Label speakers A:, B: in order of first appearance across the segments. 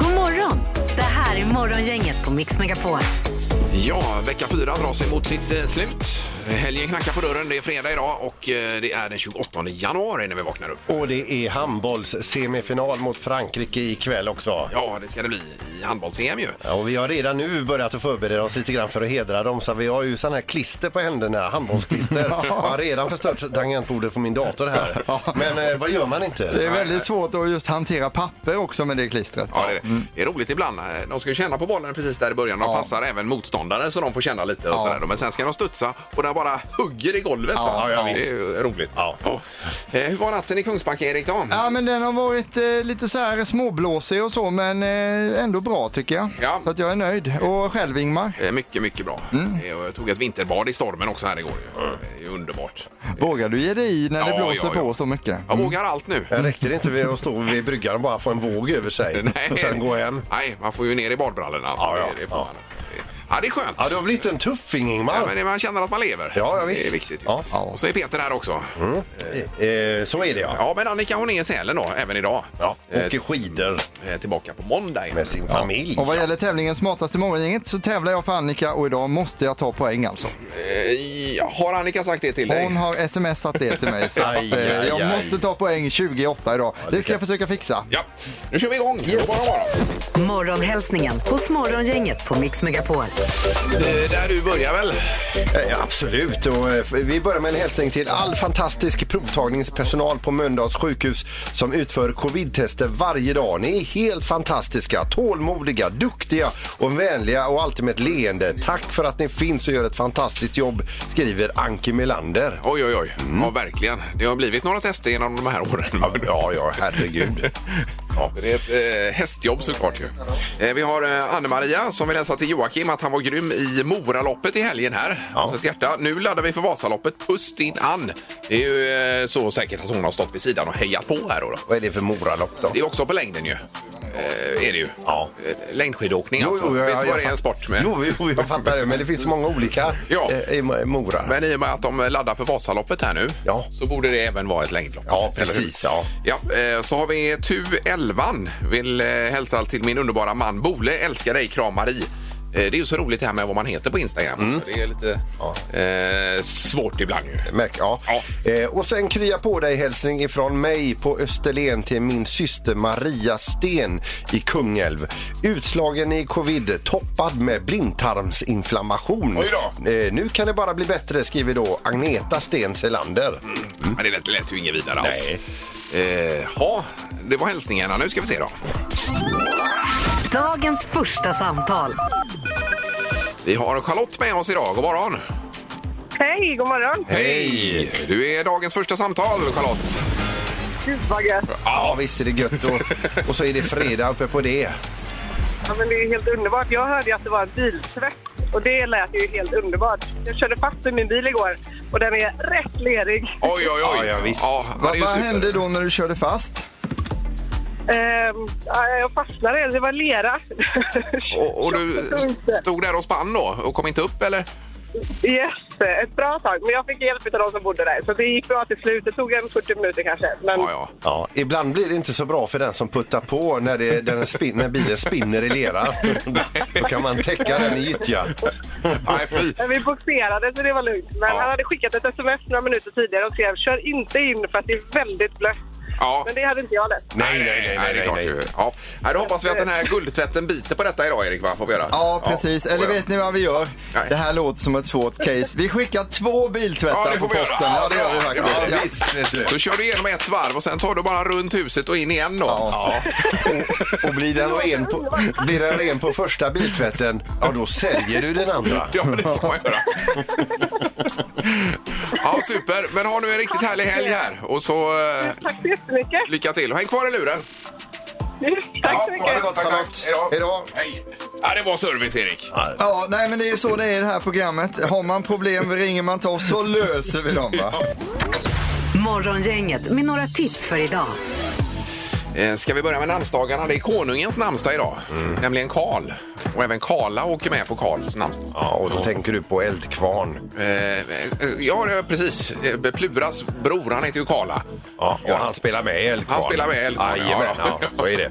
A: God morgon! Det här är Morgongänget på Mix Megapol.
B: Ja, vecka fyra drar sig mot sitt eh, slut. Helgen knackar på dörren, det är fredag idag och eh, det är den 28 januari när vi vaknar upp.
C: Och det är handbolls-semifinal mot Frankrike ikväll också.
B: Ja, det ska det bli i handbolls-EM ju.
C: Ja, Och vi har redan nu börjat att förbereda oss lite grann för att hedra dem. Så vi har ju sådana här klister på händerna, handbollsklister. Jag har redan förstört tangentbordet på min dator här. Men eh, vad gör man
D: Det
C: inte?
D: är väldigt svårt att just hantera papper också med det klistret.
B: Ja, det, är det. det är roligt ibland. Eh, De ska ju känna på bollen precis där i början. De passar även motståndare så de får känna lite och sådär. Men sen ska de studsa och den bara hugger i golvet. va?
C: Ja, ja,
B: det är ju roligt. Ja. Eh, Hur var natten i Kungsbacka, Erik? Då?
D: Ja, men den har varit eh, lite så här småblåsig och så, men eh, ändå bra tycker jag.
B: Ja.
D: Så att jag är nöjd. Och själv Ingmar,
B: Eh, Mycket, mycket bra. Eh, och Jag tog ett vinterbad i stormen också här igår. Det är ju underbart.
D: vågar du ge dig i när det
B: Ja,
D: blåser
B: ja, ja.
D: på så mycket?
B: Jag vågar allt nu.
C: Det räcker inte med att stå vid bryggan och bara få en våg över sig och sen gå hem.
B: Nej, man får ju ner i badbrallorna. Alltså.
C: Ja, ja.
B: Det, det får
C: Ja.
B: man. Ja, det är skönt.
C: Ja, du har blivit en tuffing
B: Ja,
C: Ingmar.
B: men man känner att man lever.
C: Ja, ja,
B: Det är
C: visst.
B: viktigt. ju.
C: Ja. Mm.
B: Och så är Peter här också.
C: Eh, så är det ja.
B: Ja, men Annika hon är i Sälen då, även idag.
C: ja.
B: Eh,
C: Åker skidor
B: eh, tillbaka på måndag.
C: med sin familj.
D: Och vad gäller tävlingen Smartaste morgongänget så tävlar jag för Annika och idag måste jag ta poäng alltså.
B: Eh, Har Annika sagt det till dig?
D: Hon har smsat det till mig så att,
C: Aj,
D: eh,
C: aj,
D: jag
C: aj.
D: måste ta poäng 28 idag. Det ska jag försöka fixa.
B: Ja, nu kör vi igång. God morgon, morgon.
A: Morgonhälsningen hos Morgongänget på Mix Megapol.
B: Eh, Där du börjar väl?
C: Eh, Absolut. Och eh, vi börjar med en hälsning till all fantastisk provtagningspersonal på Mölndals sjukhus som utför covid-tester varje dag. Ni är helt fantastiska, tålmodiga, duktiga och vänliga och alltid med ett leende. Tack för att ni finns och gör ett fantastiskt jobb, skriver Anki Melander.
B: Oj, oj, oj. Ja, verkligen. Det har blivit några tester genom de här åren.
C: Mm. Ja, ja, ja herregud. Ja.
B: Det är ett eh, hästjobb såklart ju. Eh, vi har eh, Anne-Maria som vill hälsa till Joakim att han var grym i Moraloppet i helgen här.
C: Ja.
B: Så ett hjärta. Nu laddar vi för Vasaloppet. Puss din Ann. Det är ju eh, så säkert att hon har stått vid sidan och hejat på här då. då.
C: Vad är det för moralopp då?
B: Det är också på längden ju. Eh, är det ju.
C: Ja.
B: Eh, Längdskidåkning alltså.
C: ja,
B: Vet
C: ja,
B: du
C: jag
B: vad det är en
C: fatt-
B: sport med?
C: Jo, jo, jag fattar det. Men det finns så många olika
B: Ja.
C: eh, i Mora.
B: Men i och med att de laddar för Vasaloppet här nu
C: Ja.
B: så borde det även vara ett längdlopp.
C: Ja,
B: eller hur?
C: precis, ja.
B: Ja, eh, så har vi Tu 11 vill eh, hälsa till min underbara man Bole. Älskar dig, kram Marie. Eh, Det är ju så roligt det här med vad man heter på Instagram.
C: Mm.
B: Så Det är lite eh, svårt ibland ju.
C: Märk, ja.
B: Ja.
C: Eh, och sen krya på dig hälsning ifrån mig på Österlen till min syster Maria Sten i Kungälv. Utslagen i covid, toppad med blindtarmsinflammation.
B: Oj då.
C: Eh, nu kan det bara bli bättre, skriver då Agneta Sten Selander.
B: Men det lät, lät ju inget vidare alls. Eh, Ja, det var hälsningarna. Nu ska vi se då.
A: Dagens första samtal.
B: Vi har Charlotte med oss idag. God morgon!
E: Hej, god morgon.
B: Hej! Du är dagens första samtal, Charlotte.
E: Gud vad gött.
C: Ja, visst är det gött. Och, och så är det fredag uppe på det.
E: Ja, men det är ju helt underbart. Jag hörde ju att det var en biltvätt och det lät ju helt underbart. Jag körde fast i min bil igår och den är rätt lerig.
B: Oj, oj, oj!
C: Ja, ja, visst.
B: Ja, han är
D: Vad,
B: ju
D: vad
B: super.
D: hände då när du körde fast?
E: Ehm, ja, jag fastnade, det var lera.
B: Och, och du
E: Jag förstod inte.
B: stod där och spann då och kom inte upp eller?
E: Yes, ett bra tag. Men jag fick hjälp av de som bodde där så det gick bra till slut. Det tog en 40 minuter kanske. Men
B: Ja, ja.
C: Ja, ibland blir det inte så bra för den som puttar på när, det, den spin, när bilen spinner i lera. Då kan man täcka den i gyttja.
B: Nej, fy.
E: men vi boxerade så det var lugnt. Men
B: Ja.
E: han hade skickat ett sms några minuter tidigare och skrev kör inte in för att det är väldigt blött.
B: Ja.
E: Men det hade inte jag läst.
C: Nej, nej, nej. nej,
B: det är klart
C: nej,
B: ju. Ja. Nej, då hoppas vi att den här guldtvätten biter på detta idag, Erik. Va? Får vi göra?
D: Ja, precis.
B: får
D: Eller
B: jag.
D: vet ni vad vi gör?
B: Nej.
D: Det här låter som ett svårt case. Vi skickar två
B: Ja,
D: biltvättar på
B: det får vi göra.
D: posten. Ja, det gör vi faktiskt.
B: Ja,
D: Ja.
C: visst, vet du.
B: Så kör du igenom ett varv och sen tar du bara runt huset och in igen då.
C: Ja. Och, och blir, den ren på, blir den ren på första biltvätten, ja då säljer du den andra.
B: Ja, men det får man göra. Ja, super. Men ha nu en riktigt härlig helg här och så eh,
E: Tack så jättemycket. Mm,
B: lycka till. Häng kvar i luren.
E: Tack
B: Ja,
E: så
B: ha det
E: mycket.
B: gott, tack, tack.
C: Charlotte.
B: Hej då.
C: Hej då.
B: Hej. Ja, det var service, Erik.
D: Ja, nej men det är så det är i det här programmet. Har man problem ringer man till oss så löser vi dem va.
A: Morgongänget med några tips för idag.
B: Eh, Ska vi börja med namnsdagarna? Det är konungens namnsdag idag,
C: Mm.
B: nämligen Karl. Och även Karla åker med på Karls namnsdag.
C: Ja, och då tänker du på eldkvarn.
B: Eh, eh, Ja, det är precis. Eh, Pluras bror, han heter ju Karla.
C: Ja, och han spelar med i Eldkvarn.
B: Han spelar med i Eldkvarn, ja,
C: Jajamän,
B: ja.
C: ja, så är det.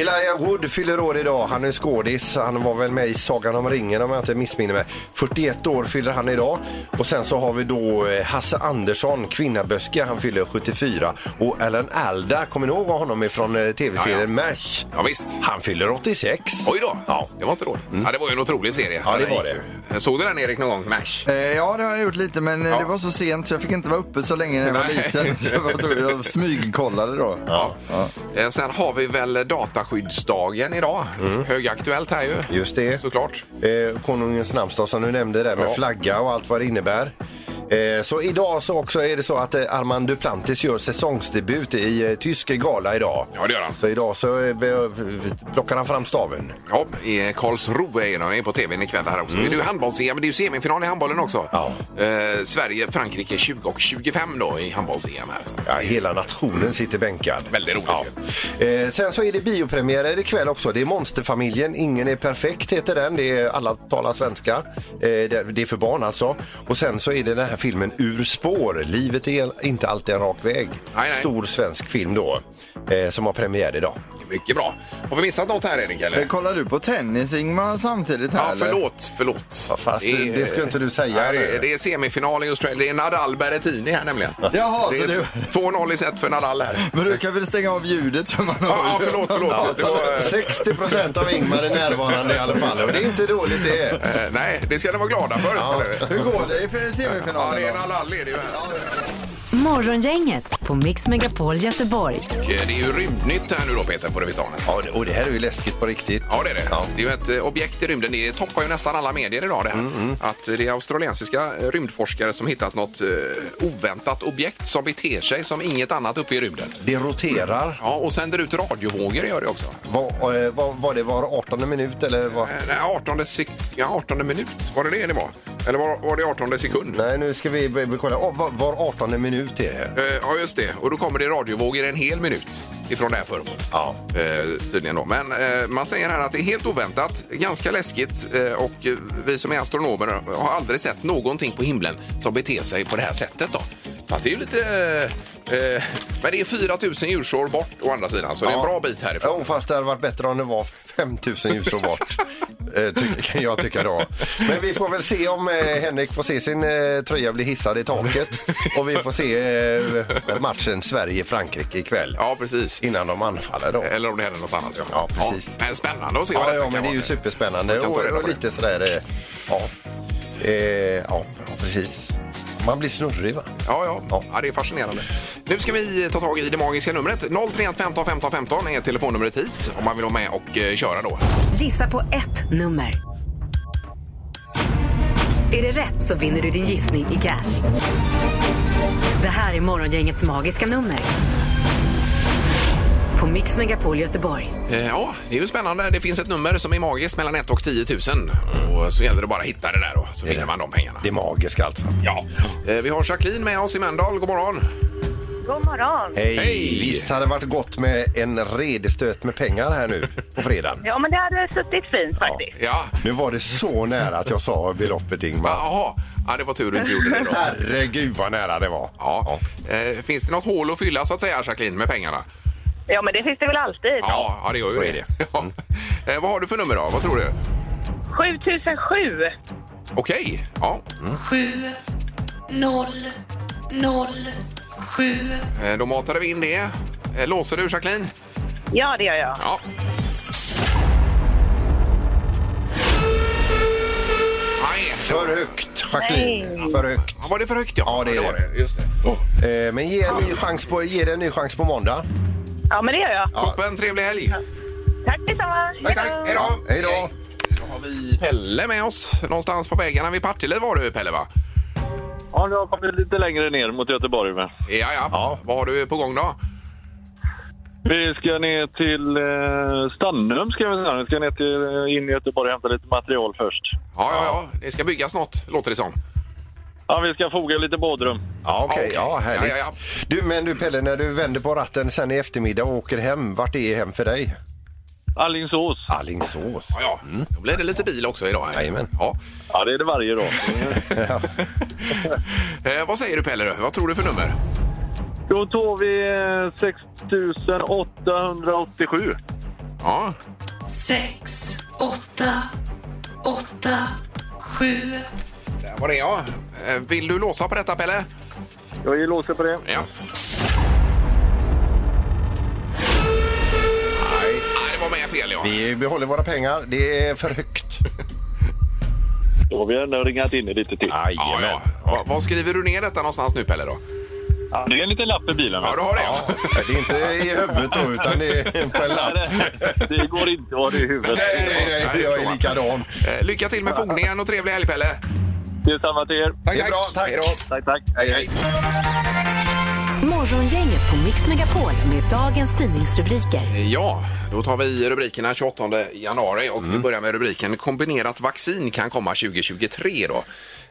C: Elijah Wood fyller år idag. Han är skådis. Han var väl med i Sagan om ringen om jag inte missminner mig. 41 år fyller han idag. Och sen så har vi då eh, Hasse Andersson, kvinnaböske. Han fyller 74. Och Alan Alda, kommer ni ihåg honom ifrån eh, tv-serien
B: Ja, ja.
C: MASH?
B: Ja, visst.
C: Han fyller 86.
B: Oj då!
C: Ja.
B: Det var inte dåligt. Ja, det var ju en otrolig serie.
C: Ja, det
B: Den
C: var
B: gick ju. Såg du den, Erik, någon gång? Mash?
D: Eh, Ja, det har jag gjort lite men eh,
B: Ja.
D: det var så sent så jag fick inte vara uppe så länge när jag var
B: Nej.
D: liten. Så jag, var tvungen- jag smygkollade då.
B: Ja. Eh, Sen har vi väl dataskyddsdagen idag. Högaktuellt här ju.
C: Mm. Just det.
B: Såklart.
C: Eh, konungens namnsdag som du nämnde där med
B: Ja.
C: flagga och allt vad det innebär. Eh, så idag så också är det så att eh, Armand Duplantis gör säsongsdebut i eh, tysk gala idag.
B: Ja, det gör han.
C: Så idag så eh, be- plockar han fram staven.
B: Ja, i Karlsruhe är de är på tv ikväll här också. Det är ju handbolls-EM, men det är ju semifinal i handbollen också.
C: Ja.
B: Eh, Sverige, Frankrike 20 och 25 då i handbolls-EM här.
C: Ja, hela nationen sitter bänkad.
B: Väldigt roligt
C: Ja. Eh, sen så är det biopremiärer ikväll också. Det är Monsterfamiljen, Ingen är perfekt heter den. Det är alla talar svenska. Eh, det, det är för barn alltså. Och sen så är det den här filmen Ur spår. Livet är inte alltid en rak väg.
B: nej.
C: Stor svensk film då. Eh, som har premiär idag.
B: Mycket bra. Har vi missat något här, Erik? Eller?
D: Eh, Kollar du på tennis Ingmar samtidigt här
B: Ja,
D: eller?
B: förlåt, förlåt.
C: Ja, fast det- det ska inte du säga.
B: Nej, det, det är semifinal i Australien. Det är Nadal Berrettini här nämligen.
D: Jaha,
B: det
D: så du...
B: är 2-0 i set för Nadal här.
D: Men du kan väl stänga av ljudet för man hör
B: Ja, ja,
D: ju-
B: förlåt, förlåt.
D: Ja,
B: Det var, eh,
C: 60 procent av Ingmar är närvarande i alla fall. Och det är inte dåligt det.
B: eh, nej, det ska de vara glada för. Ja,
D: Hur går det i
B: ja
D: semifinalen
B: det är
D: då?
B: Nadal är det ju här.
A: Morgongänget på Mix Megapol Göteborg.
B: Och, eh, Det är ju rymdnytt här nu då, Peter, får du veta om.
C: Ja, och det här är ju läskigt på riktigt.
B: Ja, det är det. Det är ju ett eh, objekt i rymden. Det toppar ju nästan alla medier idag det här. Att eh, det är australiensiska eh, rymdforskare som hittat något eh, oväntat objekt som beter sig som inget annat uppe i rymden.
C: Det roterar.
B: Ja, och sänder ut radiovågor gör det också.
C: Var, eh, var, var det var 18 minut eller? Var...
B: Eh, Nej, 18, sek- ja, 18 minut, var det det det var? Eller var, var det 18 sekund?
C: Nej, nu ska vi, vi kolla. Oh, var, var 18 minut är det.
B: Eh, Ja, just det. Och då kommer det radiovågor en hel minut ifrån det här föremålet.
C: Ja.
B: Eh, tydligen då. Men eh, man säger här att det är helt oväntat, ganska läskigt eh, och eh, vi som är astronomer har aldrig sett någonting på himlen som beter sig på det här sättet. Då. Så att det är ju lite... Eh, eh, men det är 4000 ljusår bort å andra sidan, så det är en bra bit härifrån.
C: Jo, fast det hade varit bättre om det var 5000 ljusår bort. Eh, ty- kan jag tycka då. Men vi får väl se om eh, Henrik får se sin eh, tröja bli hissad i taket. Och vi får se eh, matchen Sverige-Frankrike ikväll.
B: Ja, precis.
C: Innan de anfaller då.
B: Eller om det händer något annat. Ja,
C: Ja, precis.
B: men spännande att se vad
C: Ja,
B: detta
C: ja
B: kan
C: men det är
B: vara.
C: ju superspännande
B: Man kan
C: och,
B: ta reda på
C: och
B: det.
C: lite sådär... eh, Ja. Eh, ja, ja, precis. Man blir snurrig va?
B: Ja, ja, ja. det är fascinerande. Nu ska vi ta tag i det magiska numret. 031 15 15 15 är telefonnumret hit om man vill vara med och eh, köra då.
A: Gissa på ett nummer. Är det rätt så vinner du din gissning i cash. Det här är Morgongängets magiska nummer. På Mix Megapol Göteborg.
B: Eh, Ja, det är ju spännande. Det finns ett nummer som är magiskt mellan 1 och 10 000. Och så gäller det bara att hitta det där då, så vinner man de pengarna.
C: Det magiska alltså.
B: Ja. Eh, Vi har Jacqueline med oss i Mölndal. God morgon!
F: God morgon.
C: Hej!
B: Hej!
C: Visst hade det varit gott med en redestöt med pengar här nu på fredagen?
F: Ja, men det hade suttit fint faktiskt.
B: Ja,
C: Nu var det så nära att jag sa beloppet Ingmar.
B: jaha. Ja, det var tur du inte gjorde det då.
C: Herregud vad nära det var.
B: Ja. Eh, Finns det något hål att fylla så att säga, Jacqueline, med pengarna?
F: Ja. men det finns det väl alltid.
B: Ja, ja det gör ju
C: Så är
B: det. Ja. Eh, Vad har du för nummer då? Vad tror du?
F: 7007.
B: Okej. Ja. Mm.
G: noll, noll, sju.
B: Eh, Då matade vi in det. Eh, Låser du Jacqueline?
F: Ja, det gör jag.
B: Ja. Nej, det var-
C: För högt Jacqueline. För högt.
B: Ja, Var det för högt? Ja,
C: Ja, det är
B: var
C: det.
B: Just det.
C: Eh, Men ge, en ny chans på, ge det en ny chans på måndag.
F: Ja, men det gör jag.
B: Toppen, trevlig helg!
F: Tack detsamma.
B: Tack, tack. Hej då!
C: Hej då.
B: Då har vi Pelle med oss någonstans på vägarna vid Partille var du Pelle va?
H: Ja, nu har jag kommit lite längre ner mot Göteborg. Men.
B: Ja, ja. Vad har du på gång då?
H: Vi ska ner till eh, Stannum, ska vi säga. Vi ska ner till, eh, in i Göteborg och hämta lite material först.
B: Ja, ja, ja. Det ska byggas något, låter det som.
H: Ja, vi ska foga lite badrum.
C: Ja, okej.
B: okej.
C: Ja, härligt.
B: Ja, ja,
C: Du, men du Pelle, när du vänder på ratten sen i eftermiddag och åker hem, vart är hem för dig?
H: Allingsås.
C: Allingsås.
B: Ja, ja. Då blir det lite bil också idag.
C: Mm. Jajamän.
B: Ja.
H: Ja, det är det varje dag.
B: Eh, vad säger du Pelle? då? Vad tror du för nummer?
H: Då tar vi eh, 6887.
B: Ja,
G: sex, åtta, åtta, sju.
B: där var det ja. Eh, vill du låsa på detta Pelle?
H: Jag ger låset på det.
B: Ja. Nej, nej, det var med fel ja.
C: Vi behåller våra pengar. Det är för högt.
H: Då har vi ändå ringat in det lite till.
B: Ja, ja.
C: Jajamän.
B: Va, vad skriver du ner detta någonstans nu Pelle då?
H: Ja, Det är en liten lapp i bilen.
B: Ja, du har det ja.
C: Det är inte i huvudet då, utan det är på en lapp.
H: Nej, det, det går inte att ha det i huvudet.
C: Nej, nej, nej, jag är likadan.
B: Eh, lycka till med fogningen och trevlig helg Pelle.
H: Detsamma till er.
C: Det är bra, tack.
B: Hej då.
H: Tack, tack.
A: Morgongänget på Mix Megapol med dagens tidningsrubriker.
B: Ja, då tar vi rubrikerna 28 januari och vi börjar med rubriken kombinerat vaccin kan komma 2023 då.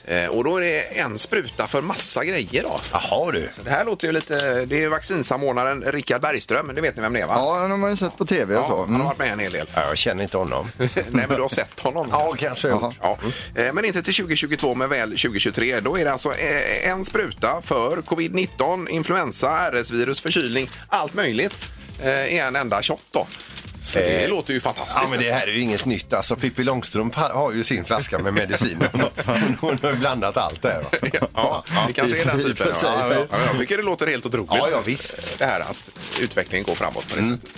B: Eh, Och då är det en spruta för massa grejer då.
C: Jaha du.
B: Det här låter ju lite, det är vaccinsamordnaren Rickard Bergström, det vet ni vem det är va?
D: Ja, den har man ju sett på tv och så.
B: han har
D: Mm.
B: varit med en hel del.
C: Ja, Jag känner inte honom.
B: Nej men du har sett honom.
C: Ja, kanske.
D: Jaha.
B: Ja. Eh, Men inte till 2022 men väl 2023. Då är det alltså eh, en spruta för covid-19, influensa, RS-virus, förkylning, allt möjligt eh, i en enda shot då. Så det
C: Eh,
B: låter ju fantastiskt.
C: Ja, men det här är ju inget nytt. Alltså, Pippi Långstrump har- har ju sin flaska med medicin. Hon- Hon har ju blandat allt där. va?
B: Ja, det kanske är den
C: Vi får
B: typen.
C: se.
B: Ja, ja, ja, jag tycker det låter helt otroligt.
C: Ja, ja, visst. Mm.
B: Det här att utvecklingen går framåt på det sättet.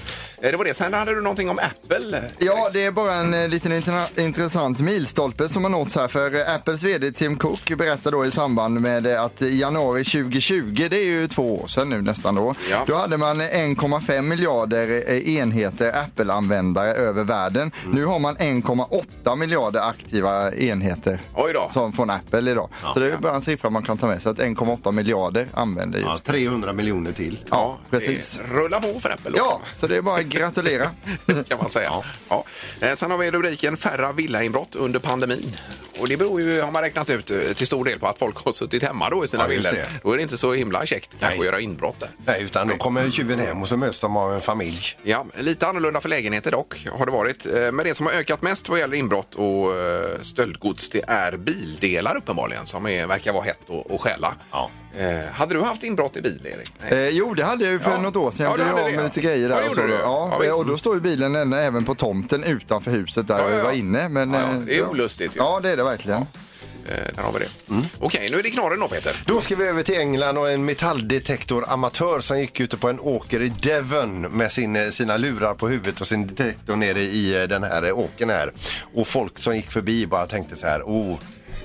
B: Eh, Det var det. Sen hade du någonting om Apple.
D: Ja, det är bara en eh, liten interna- intressant milstolpe som har nåtts här för eh, Apples vd Tim Cook berättar då i samband med eh, att i januari 2020, det är ju två år sedan nu nästan då,
B: Ja.
D: då hade man eh, 1,5 miljarder eh, enheter Apple-användare över världen.
B: Mm.
D: Nu har man 1,8 miljarder aktiva enheter
B: Oj då.
D: som från Apple idag. Så det är ju bara en siffra man kan ta med sig, att 1,8 miljarder använder just.
C: Ja, 300 miljoner till.
B: Ja,
D: precis.
B: det Rulla på för Apple. då,
D: Ja, så det är bara att gratulera.
B: Kan man säga. Ja. Eh, Sen har vi rubriken Färre villainbrott under pandemin. Och det beror ju, har man räknat ut, eh, till stor del på att folk har suttit hemma då i sina
C: Ja, just
B: villor.
C: det.
B: Då är det inte så himla käckt kanske
C: Nej.
B: att göra inbrott där.
C: Nej, utan då kommer tjuven hem och så möts de av en familj.
B: Ja, lite annorlunda för lägenheter dock har det varit. Eh, Men det som har ökat mest vad gäller inbrott och eh, stöldgods det är bildelar uppenbarligen som är, verkar vara hett att- att stjäla.
C: Ja.
B: Eh, Hade du haft inbrott i bil Erik? Nej.
D: Eh, jo, det hade jag ju för
B: Ja.
D: något år sedan.
B: Ja,
D: Jag
B: du
D: blev
B: hade
D: av
B: det,
D: med
B: ja.
D: lite grejer där.
B: Ja, det
D: och, så
B: gjorde
D: då.
B: du.
D: Ja,
B: Ja, visst.
D: och då står ju bilen än- även på tomten utanför huset där
B: Ja, ja,
D: vi
B: ja.
D: var inne. Men,
B: Ja, ja,
D: eh,
B: det är olustigt ju.
D: Ja, det är det verkligen.
B: Eh, Där har vi det. Okej, nu är det knorren då Peter.
C: Då ska vi över till England och en metalldetektoramatör som gick ute på en åker i Devon med sin, eh, sina lurar på huvudet och sin detektor nere i eh, den här eh, åkern här. Och folk som gick förbi bara tänkte så här, oh,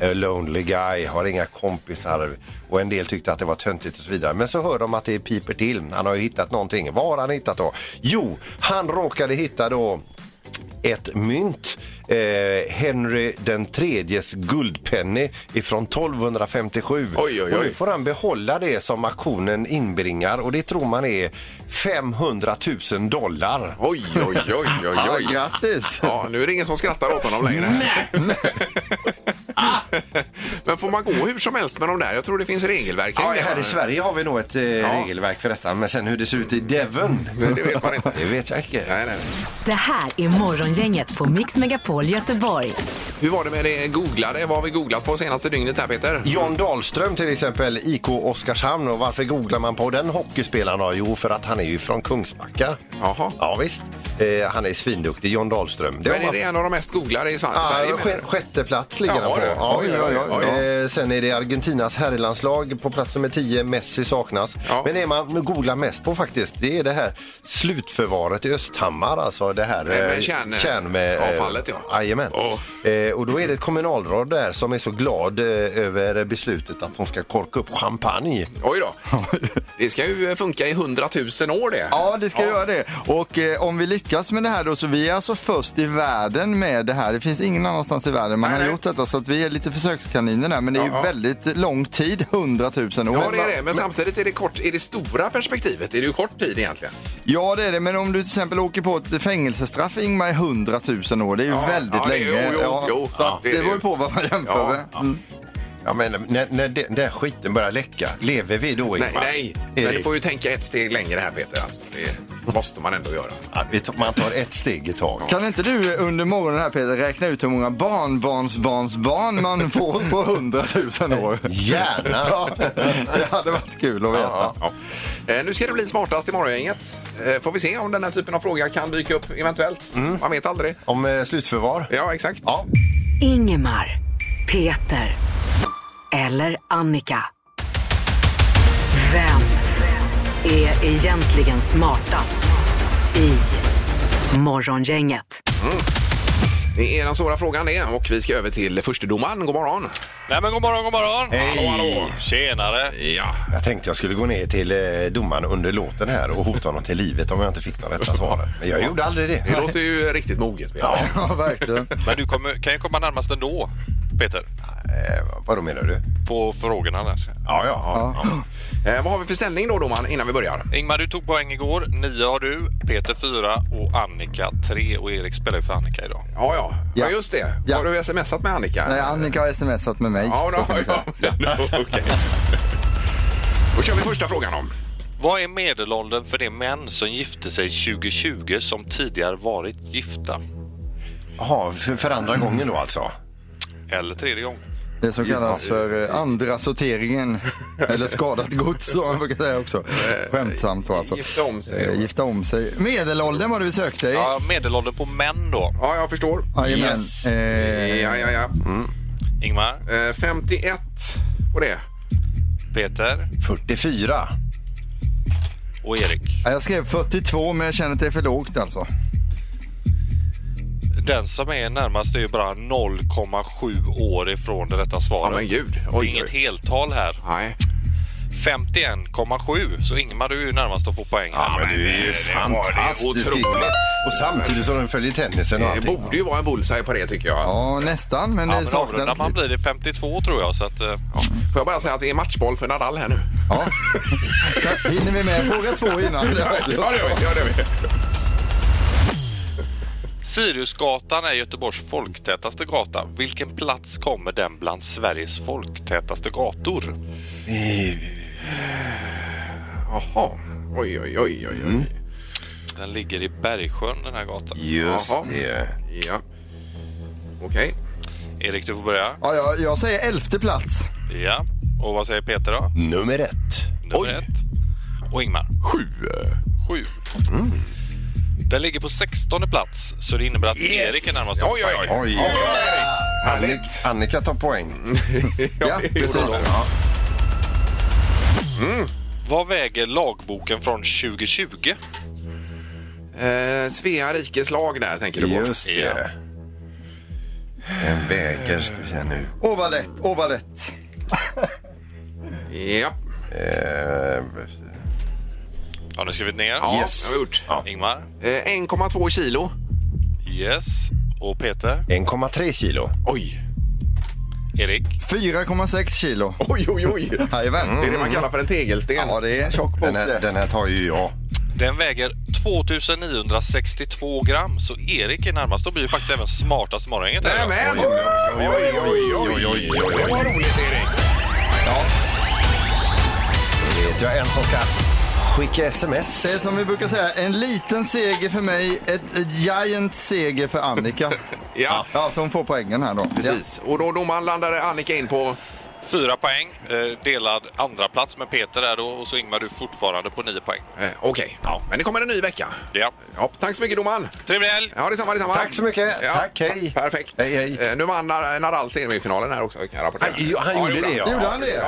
C: a lonely guy, har inga kompisar. Och en del tyckte att det var töntigt och så vidare. Men så hör de att det piper till. Han har ju hittat någonting. Vad har han hittat då? Jo, han råkade hitta då ett mynt. Eh, Henry den tredjes guldpenny ifrån 1257.
B: Oj, oj,
C: Och nu
B: oj.
C: får han behålla det som auktionen inbringar och det tror man är 500 000 dollar.
B: Oj, oj, oj, oj, oj.
D: Ja, grattis!
B: Ja, nu är det ingen som skrattar åt honom längre. Men får man gå hur som helst med de där? Jag tror det finns regelverk kring
C: Ja,
B: det.
C: här i Sverige har vi nog ett eh, regelverk för detta, men sen hur det ser ut i Devon,
B: Men Det vet man inte.
C: det vet jag inte.
B: Nej, nej.
A: Det här är Morgongänget på Mix Megapol Göteborg.
B: Hur var det med det googlade? Vad har vi googlat på senaste dygnet här Peter?
C: John Dahlström till exempel, IK Oskarshamn. Och varför googlar man på den hockeyspelaren? då? Jo, för att han är ju från Kungsbacka.
B: Jaha.
C: Ja, visst. Eh, han är svinduktig, John Dahlström. Det
B: Men
C: har
B: är det en av de mest googlade i Sverige?
C: Ja,
B: Sverige, menar
C: sk- sjätte plats ligger
B: Ja,
C: han på.
B: du. Oj, oj, oj, oj.
C: Eh, Sen är det Argentinas herrlandslag på plats nummer 10. Messi saknas.
B: Ja.
C: Men det man googlar mest på faktiskt, det är det här slutförvaret i Östhammar. Alltså det här
B: Med- med
C: eh,
B: kärn-
C: kärn med, eh,
B: avfallet, ja.
C: Jajamän. Eh, Och då är det ett kommunalråd där som är så glad eh, över beslutet att de ska korka upp champagne.
B: du? Oj då. Det ska ju funka i hundratusen år det.
D: Ja, det ska göra det. Och eh, om vi lyckas med det här då, så vi är alltså först i världen med det här. Det finns ingen annanstans i världen man
B: Nej,
D: har
B: nej.
D: gjort detta, så att vi är lite försökskaniner där, men det är ju
B: Ja, ja.
D: väldigt lång tid, 100 000 år.
B: Ja, det är det. Men samtidigt är det kort, i det stora perspektivet är det ju kort tid egentligen.
D: Ja, det är det. Men om du till exempel åker på ett fängelsestraff, Ingmar, i 100 000 år. Det är ju väldigt
C: ja, det är-
D: länge.
C: jo, jo,
D: ja.
C: jo,
D: så
C: ja,
D: att
C: det är
D: det
C: det
D: beror
C: ju.
D: på vad man jämför
C: Ja,
D: med. Mm.
C: ja. Ja, men när, när den, den skiten börjar läcka, lever vi då
B: Nej,
C: Ingmar?
B: nej.
C: Erik?
B: Men du får ju tänka ett steg längre här Peter. Alltså, det måste man ändå göra.
C: Ja, vi tar- Man tar ett steg i taget.
D: Kan inte du eh, under morgonen här Peter räkna ut hur många barnbarnsbarnsbarn man får på 100 000 år?
C: Gärna.
D: Ja, det hade varit kul att veta.
B: Ja, ja. Eh, Nu ska det bli smartast i morgongänget. Eh, Får vi se om den här typen av fråga kan dyka upp eventuellt.
D: Mm.
B: Man vet aldrig.
C: Om eh, slutförvar?
B: Ja, exakt.
A: Ingemar, Peter eller Annika. Vem är egentligen smartast i Morgongänget?
B: Det är den svåra frågan det och vi ska över till förstedomaren. God morgon!
I: Nej men god morgon, god morgon!
C: Hej.
I: Tjenare!
B: Ja.
C: Jag tänkte jag skulle gå ner till eh, domaren under låten här och hota honom till livet om jag inte fick de rätta svaren. Men jag gjorde aldrig det.
B: Det låter ju riktigt moget. Ja.
D: Ja, verkligen.
I: Men du kommer, kan ju komma närmast ändå, Peter,
C: Eh, vadå menar du?
I: på frågorna. Där.
C: Ja, ja. ja.
B: Eh, vad har vi för ställning då domaren innan vi börjar?
I: Ingmar, du tog poäng igår. Nio har du, Peter fyra och Annika tre. Och Erik spelar ju för Annika idag.
B: Ja, ja. ja.
D: Ja.
B: just det.
D: Ja.
B: Har du smsat med Annika?
D: Nej, Annika har smsat med mig.
B: Ja,
D: så kan
B: då,
D: jag säga.
B: ja, ja. okej. Då kör vi första frågan om.
I: Vad är medelåldern för de män som gifte sig 2020 som tidigare varit gifta?
C: Jaha, för, för andra gången då alltså?
I: Eller tredje gången?
D: Det som kallas för eh, andra sorteringen. Eller skadat gods som man brukar säga också. Skämtsamt då alltså.
B: Gifta om sig.
D: Eh, Gifta om sig. Medelåldern var det vi sökte i.
I: Ja, medelåldern på män då.
B: Ja, jag förstår.
D: Jajamän.
B: Yes.
D: Eh,
B: Ja, ja, ja.
I: Ingmar,
B: Eh, 51 på det.
I: Peter
C: 44.
I: och Erik.
D: ja, jag skrev 42 men jag känner att det är för lågt alltså.
I: Den som är närmast är ju bara 0,7 år ifrån det rätta
B: Ja,
I: svaret.
B: men gud.
I: Det är
B: Oj,
I: inget
B: oj.
I: heltal här.
B: Nej.
I: 51,7. Så Ingmar, du är ju närmast att få poäng.
C: Ja, men det är ju fantastiskt.
B: otroligt.
C: Och samtidigt som de följer tennisen och
B: Det
C: allting.
B: borde ju vara en bullseye på det tycker jag.
D: Ja, nästan. Men
I: Ja,
D: det
I: men avrundar
D: saknas
I: man
D: lite.
I: blir det 52 tror jag. Så att, eh,
B: Får jag bara säga att det är matchboll för Nadal här nu?
D: Ja. Tack. Hinner vi med fråga två innan?
B: Ja, det gör vi. Ja, det gör vi.
I: Siriusgatan är Göteborgs folktätaste gata. Vilken plats kommer den bland Sveriges folktätaste gator?
B: Jaha. Oj, oj, oj. oj, oj.
I: Den ligger i Bergsjön den här gatan.
C: Just
B: Jaha.
C: det.
B: Ja. Okej.
I: Erik, du får börja.
D: Ja, jag, jag säger elfte plats.
I: Ja. Och vad säger Peter då?
C: Nummer ett.
I: Nummer
B: Oj.
I: ett. Och Ingmar?
B: Sju.
I: Sju.
B: Mm.
I: Den ligger på 16 plats, så det innebär att Erik är närmast.
B: Oj, oj, oj.
C: Oj. Annika, Annika tar poäng.
D: Ja, precis.
I: Vad väger lagboken från 2020?
B: Eh, Svea rikes lag där tänker du på.
C: Just det. Den väger, ska vi se nu.
D: Åh, vad lätt. Åh, vad lätt.
B: Ja.
C: Eh,
I: Har ni skrivit ner?
B: Ja,
C: Yes.
B: det har vi gjort.
I: Ingmar?
B: Eh, 1,2 kilo.
I: Yes. Och Peter?
C: 1,3 kilo.
B: Oj.
I: Erik?
D: 4,6 kilo.
B: Oj, oj, oj. Mm.
D: Jajamän.
B: Det är det man kallar för en tegelsten.
D: Ja, det är en tjock bok
C: Den här,
D: det.
C: den här tar ju jag.
I: Den väger 2962 gram, så Erik är närmast. Då blir ju faktiskt även smartast i morgongänget. här idag.
B: Nämen! Oj, oj, oj, oj, oj, oj, oj. Det var roligt, Erik.
C: Vet jag en som ska skicka sms.
D: Det är som vi brukar säga, en liten seger för mig, ett ett giant seger för Annika.
B: Ja,
D: Ja, så hon får poängen här då.
B: precis. Och då domaren landade Annika in på...
I: Fyra poäng, eh, delad andra plats med Peter där då, och så Ingmar du fortfarande på nio poäng.
B: Eh, Okej, ja. men det kommer en ny vecka.
I: Ja.
B: Ja, tack så mycket domaren.
I: Trevlig helg!
B: Ja, detsamma, detsamma.
C: Tack så mycket.
B: Ja,
C: Tack, hej.
B: Perfekt.
C: Hej, hej.
B: Eh, Nu vann Nar- Nadal semifinalen här också. Kan jag rapportera.
C: Han, jo, han gjorde det,
D: Ja. Gjorde
C: ja.
D: han det?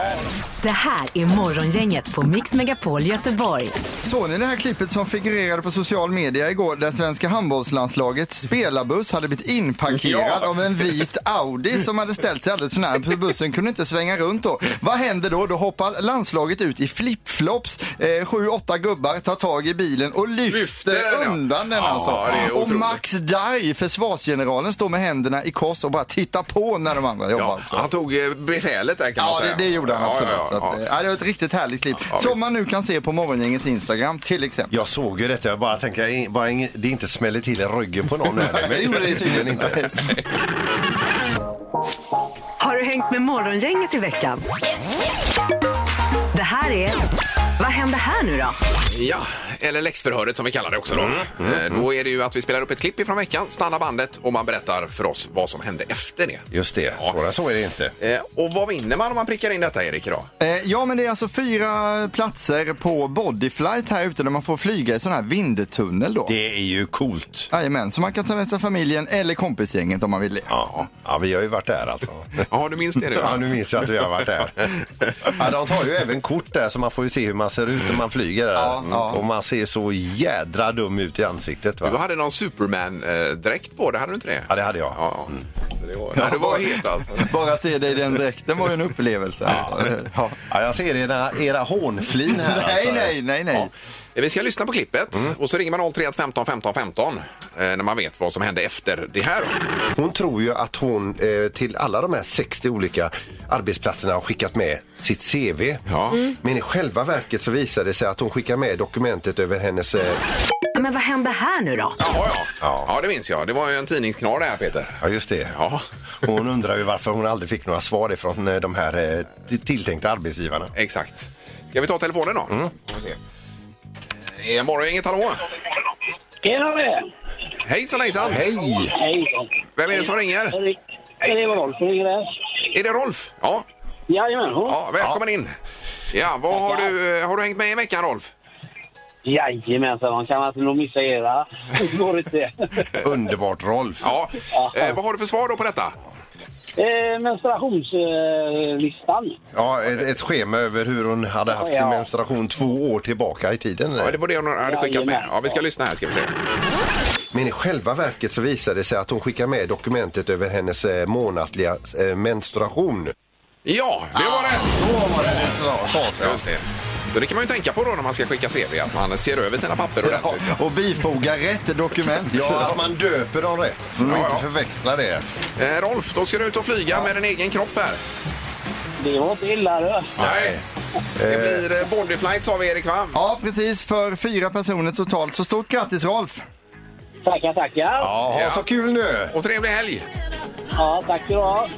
A: Det här är Morgongänget på Mix Megapol Göteborg.
D: Såg ni det här klippet som figurerade på social media igår där svenska handbollslandslagets spelarbuss hade blivit inparkerad
B: Ja.
D: av en vit Audi som hade ställt sig alldeles för nära för bussen kunde inte svänga svänga runt då. Vad händer då? Då hoppar landslaget ut i flipflops. Eh, sju, åtta gubbar tar tag i bilen och lyfter,
B: den, ja.
D: undan den
B: Ja,
D: alltså.
B: det är
D: Och
B: otroligt.
D: Max Dai, försvarsgeneralen, står med händerna i kors och bara tittar på när de andra jobbar.
B: Ja, han tog eh, befälet där kan man
D: Ja,
B: säga.
D: det, det gjorde han
B: Ja,
D: absolut.
B: ja, ja,
D: Så att, eh, ja, det var ett riktigt härligt klipp. som man nu kan se på morgongängets Instagram till exempel.
C: Jag såg ju detta, jag bara tänkte jag- bara ing- det inte smäller till i ryggen på någon här nu, men det gjorde det tydligen inte.
A: Har du hängt med Morgongänget i veckan? Det här är... Vad händer här nu då?
B: Ja, eller läxförhöret som vi kallar det också. Då.
C: Mm,
B: Eh, då är det ju att vi spelar upp ett klipp ifrån veckan, stannar bandet och man berättar för oss vad som hände efter det.
C: Just det, svårare så är det inte.
B: Eh, och vad vinner man om man prickar in detta, Erik, idag?
D: Eh, Ja, men det är alltså fyra platser på Bodyflight här ute där man får flyga i sån här vindtunnel då.
C: Det är ju coolt.
D: Jajamän, så man kan ta med sig familjen eller kompisgänget om man vill det.
C: Ja, ja vi har ju varit där alltså.
B: Ja, du minns det nu? va?
C: Ja, nu minns jag att vi har varit där. Ja, de tar ju även kort där så man får ju se hur man ser ut när man flyger där. Mm.
D: ja.
C: Och man ser så jädra dum ut i ansiktet.
B: Du
C: Va?
B: hade någon Superman-dräkt på dig, hade du inte det?
C: Ja, det hade jag.
B: Ja, Så det var, ja, det var het alltså.
D: Bara se dig i den dräkten var ju en upplevelse. Alltså. Ja.
C: Ja, jag ser era, era hånflin här.
D: Nej,
C: alltså.
D: nej, nej, nej.
B: Eh, Vi ska lyssna på klippet och så ringer man 031 15 15 15 eh, när man vet vad som hände efter det här.
C: Hon tror ju att hon eh, till alla de här 60 olika arbetsplatserna har skickat med sitt CV.
B: Ja.
C: Men i själva verket så visar det sig att hon skickar med dokumentet över hennes... Eh,
A: Ja, Men vad händer här nu då?
B: Ja, ja. ja, det minns jag. Det var ju en tidningsknar det här, Peter.
C: ja, just det.
B: Ja,
C: Och Hon undrar ju varför hon aldrig fick några svar ifrån eh, de här eh, t- tilltänkta arbetsgivarna.
B: exakt. Ska vi ta telefonen då? Mm. Är morgon, inget hallå?
F: Tjenare!
B: Hejsan, hejsan!
C: Hej!
F: Hej!
B: Vem är det som ringer?
F: Det var Rolf som ringer där.
B: Är det Rolf? Ja,
F: Jajamän.
B: ja välkommen in. Ja, vad har
F: Tackar.
B: du, eh, har du hängt med i veckan, Rolf?
F: Jajamensan, man kan alltså nog missa era. Det går inte.
C: Underbart Rolf!
B: Ja. Eh, vad har du för svar då på detta?
F: Eh, menstruationslistan.
C: Ja, ett, ett schema över hur hon hade haft sin
F: Ja.
C: menstruation två år tillbaka i tiden.
B: Ja, det var det hon hade skickat med.
F: Jajamän.
B: Ja, vi ska lyssna här ska vi se.
C: Men i själva verket så visar det sig att hon skickar med dokumentet över hennes eh, månatliga eh, menstruation.
B: Ja, det var rätt!
C: Så var det det sa- sades, ja.
B: Just det. Så det kan man ju tänka på då när man ska skicka CV, att man ser över sina papper ordentligt.
D: Och bifoga rätt dokument.
C: Ja, att man döper dem rätt så man
B: Ja,
C: inte
B: ja.
C: förväxlar det.
B: Eh, Rolf, då ska du ut och flyga med din egen kropp här.
F: Det var inte illa du.
B: Nej. Det blir eh, bodyflight sa vi, Erik, va?
D: Ja, precis. För fyra personer totalt. Så stort grattis Rolf!
F: Tackar, tackar. Ja,
C: Ja,
B: Ja.
C: så kul nu!
B: Och trevlig helg!
F: tack ska du ha.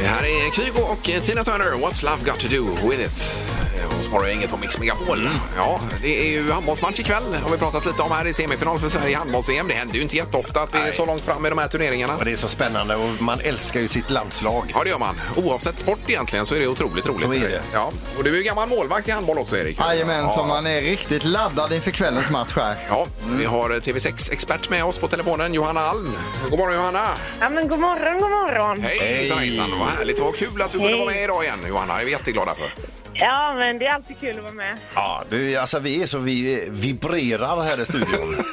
B: Det här är Kygo och eh, Tina Turner, What's Love Got To Do With It? Eh, Hos Morgongänget på Mix Megapol. Ja, det är ju handbollsmatch ikväll, har vi pratat lite om här i semifinal för Sverige i handbolls-EM. Det händer ju inte jätteofta att vi är
C: Nej.
B: så långt fram i de här turneringarna.
C: Och det är så spännande och man älskar ju sitt landslag.
B: Ja, det gör man. Oavsett sport egentligen så är det otroligt roligt.
C: Så är det.
B: Ja, och du är ju gammal målvakt i handboll också, Erik.
D: Jajamän, som man är riktigt laddad inför kvällens match här.
B: Ja, vi har eh, TV6-expert med oss på telefonen, Johanna Alm. God morgon Johanna!
F: Ja, men god morgon, god morgon.
B: Hej! Hejsan hejsan, vad härligt. Vad kul att du kunde vara med idag igen Johanna, det är vi jätteglada för.
F: Ja, men det är alltid kul att vara med.
C: Ja, du, alltså vi är så vi vibrerar här i studion.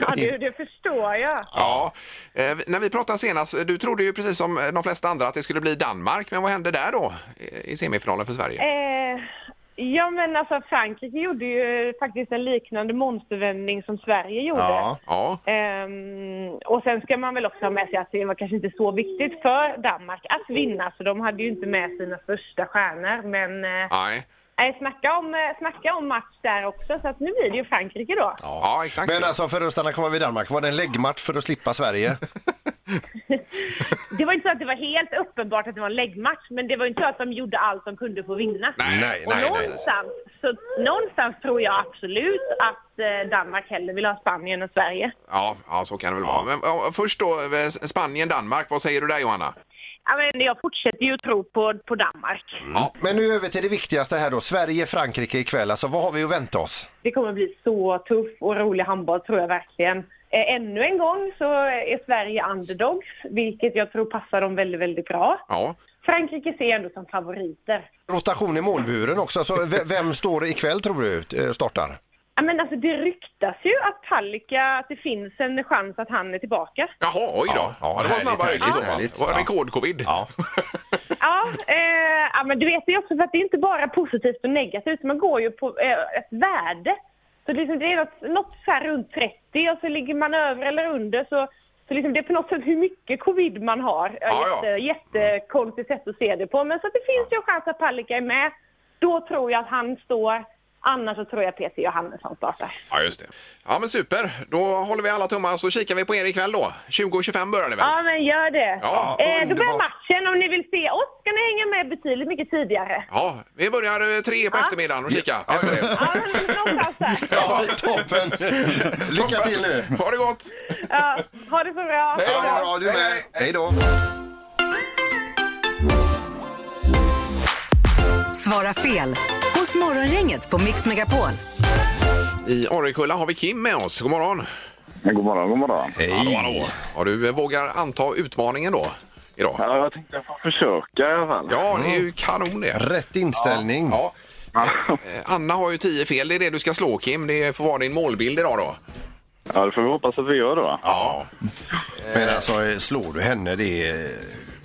F: Ja, du, det förstår jag.
B: Ja, eh, när vi pratade senast, du trodde ju precis som eh, de flesta andra att det skulle bli Danmark, men vad hände där då eh, i semifinalen för Sverige?
F: Eh, ja, men alltså Frankrike gjorde ju faktiskt en liknande monstervändning som Sverige gjorde.
C: Ja.
B: Ja,
F: Ehm, och sen ska man väl också ha med sig att det var kanske inte så viktigt för Danmark att vinna, så de hade ju inte med sina största stjärnor. Men eh,
B: nej.
F: nej, snacka, om, eh, snacka om match där också, så att nu blir det ju Frankrike då.
B: Ja, exakt.
C: Men alltså för att stanna kvar vid Danmark, var det en läggmatch för att slippa Sverige?
F: Det var inte så att det var helt uppenbart att det var en läggmatch, men det var ju inte så att de gjorde allt de kunde för att vinna.
B: Nej,
C: nej,
F: och någonstans, Så, någonstans tror jag absolut att eh, Danmark hellre vill ha Spanien än Sverige.
B: Ja, ja, så kan det väl vara. Men ja, först då, eh, Spanien-Danmark, vad säger du där Johanna?
F: Ja, men jag fortsätter ju att tro på, på Danmark.
B: Ja.
C: Men nu över till det viktigaste här då, Sverige-Frankrike ikväll. Alltså vad har vi att vänta oss?
F: Det kommer bli så tuff och rolig handboll tror jag verkligen. Eh, Ännu en gång så är Sverige underdogs, vilket jag tror passar dem väldigt, väldigt bra.
B: Ja.
F: Frankrike ser jag ändå som favoriter.
C: Rotation i målburen också, så v- vem står ikväll tror du eh, startar?
F: Ja, men alltså, det ryktas ju att Palicka, att det finns en chans att han är tillbaka.
B: Jaha, oj då. Ja, det var
J: härligt,
B: snabba ryck i
J: härligt,
B: så fall.
J: härligt.
B: Det var
J: Ja.
B: rekord-covid.
J: Ja.
F: Ja, eh, ja, men du vet det är också för att det är inte bara positivt och negativt. Man går ju på eh, ett värde. Så liksom det är något, något så här runt 30 och så ligger man över eller under. Så, så liksom det är på något sätt hur mycket covid man har.
B: Ja, ja. Mm.
F: Jätte, jättekonstigt sätt att se det på. Men så att det finns ju en chans att Palicka är med. Då tror jag att han står. Annars så tror jag Peter Johannesson startar.
B: Ja, just det. Ja, men super. Då håller vi alla tummar så kikar vi på er ikväll då. 20.25 börjar det väl?
F: Ja, men gör det.
B: Ja,
F: eh, då börjar
B: underbart.
F: matchen. Om ni vill se oss ska ni hänga med betydligt mycket tidigare.
B: Ja, vi börjar eh, tre på eftermiddagen och kika. efter det.
F: alltså.
C: Ja, toppen! Lycka till nu!
B: Ha det gott!
F: Ja, ha det så bra.
C: Hej då! Ja, du med. Hej då!
A: Svara fel hos Morgongänget på Mix Megapol.
B: I Orrekulla har vi Kim med oss. God morgon!
K: God morgon, god morgon.
B: Hej! Hallå, hallå. Ja, du eh, vågar anta utmaningen då? Idag.
K: Ja, jag tänkte jag får försöka i alla fall.
B: Ja, det är ju kanon det.
C: Rätt inställning.
B: Ja. Eh, Anna har ju tio fel. Det är det du ska slå, Kim. Det får vara din målbild idag då.
K: Ja, det får vi hoppas att vi gör då.
B: Ja.
C: Men alltså, eh, slår du henne, det, är-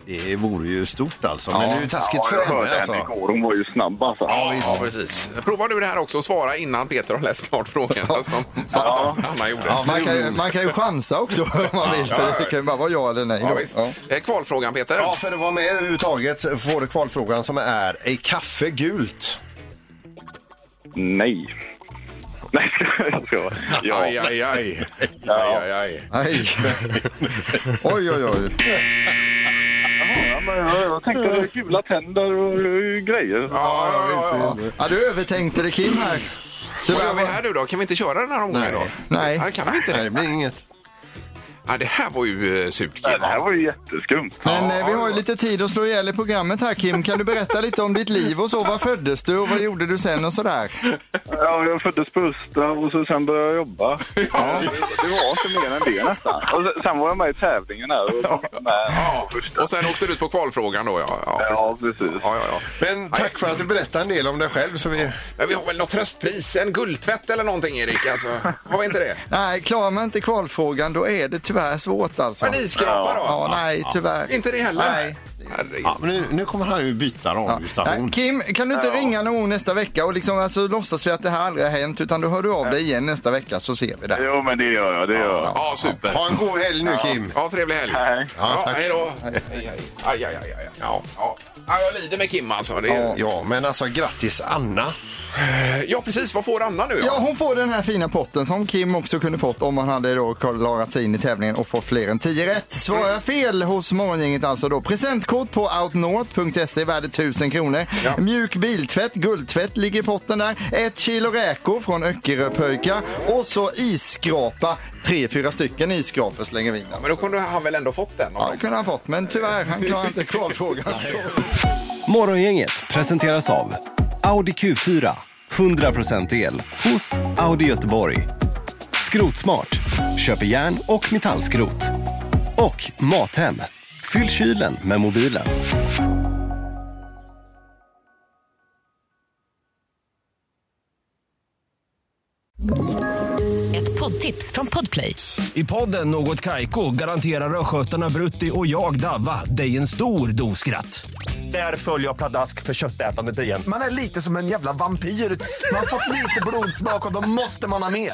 C: det vore ju stort alltså. Men det är ju taskigt
K: ja,
C: för
K: jag hörde
C: henne
K: henne
C: alltså.
K: igår. Hon var ju snabb alltså.
B: Ja, precis. Prova du det här också och svara innan Peter har läst klart frågan som, som Anna gjorde.
D: Ja, man, kan
C: Mm.
D: ju, man kan ju chansa också om man vill, för det kan ju bara vara ja eller nej.
B: Ja,
D: Då.
B: visst.
D: Ja.
B: Eh, Kvalfrågan Peter.
C: Ja, för att vara med överhuvudtaget får du kvalfrågan som är, är kaffe gult?
K: Nej. Nej, jag skojar. Ja.
B: Aj, aj, aj.
K: Ja.
B: aj, aj, aj.
D: Aj. Oj, oj, oj.
K: Ja, men jag, jag tänkte gula tänder och eh, grejer.
B: Ja, ja, ja, ja.
D: Ja, du övertänkte det Kim här.
B: Vad gör vi här nu då? Kan vi inte köra den här omgången då?
D: Nej.
B: Ja, det kan vi inte.
C: Nej, det blir inget.
B: Ja, det här var ju eh, surt Kim.
K: Ja, Det här var ju jätteskumt.
D: Men eh, vi har ju lite tid att slå ihjäl i programmet här Kim. Kan du berätta lite om ditt liv och så? Var föddes du och vad gjorde du sen och sådär?
K: Ja, jag föddes på Östra och så sen började jag jobba. Ja. Det var inte mer än det nästan. Och sen, sen var jag med i tävlingen här. Och, kom med på första.
B: Och sen åkte du ut på kvalfrågan då ja. Ja,
K: Ja, precis.
B: ja, ja, ja.
C: Men tack för att du berättade en del om dig själv. Så vi...
B: Men vi har väl något tröstpris? En guldtvätt eller någonting Erik? Alltså, har vi inte det?
D: Nej, klarar man inte kvalfrågan då är det tyvärr svårt alltså.
B: Men iskrapa då?
D: Ja, nej tyvärr.
B: Inte det heller?
D: Nej.
B: Herregud.
C: Ja, men nu, nu kommer han ju byta radiostation.
L: Äh,
D: Nej, Kim, kan du inte ringa någon gång nästa vecka och liksom, alltså, låtsas vi att det här aldrig har hänt utan då hör du av dig igen nästa vecka så ser vi det.
K: Jo, men det gör jag. Det gör jag.
B: Ja, super.
C: Ha en god helg nu Kim.
B: Ja, trevlig helg.
K: Hej.
B: Ja,
C: Ja, tack.
B: hej då. Hej, hej. Aj, aj, aj, aj. Ja, ja. ja, jag lider med Kim alltså. Det är...
C: Ja, men alltså grattis Anna.
B: Ja, precis. Vad får Anna nu?
D: Ja, hon får den här fina potten som Kim också kunde fått om han hade då klarat sig in i tävlingen och fått fler än 10 rätt. Svarar jag fel hos Morgongänget alltså då. Presentkort på outnorth.se värde 1000 kronor. Mjuk biltvätt, guldtvätt ligger i potten där. Ett kilo räkor från Öckeröpöjka och så isskrapa. Tre, fyra stycken isskrapor slänger vi in. där.
B: Men då kunde han väl ändå fått den?
D: Ja, det kunde han fått, men tyvärr, han klarar inte kvalfrågan.
M: Morgongänget presenteras av Audi Q4. 100% el hos Audi Göteborg. Skrotsmart. Köper järn och metallskrot. Och Mathem. Fyll kylen med mobilen.
N: Ett poddtips från Podplay.
M: I podden Något Kaiko garanterar östgötarna Brutti och jag, Davva, dig en stor dos skratt. Där följer jag pladask för köttätandet igen.
L: Man är lite som en jävla vampyr. Man har fått lite blodsmak och då måste man ha mer.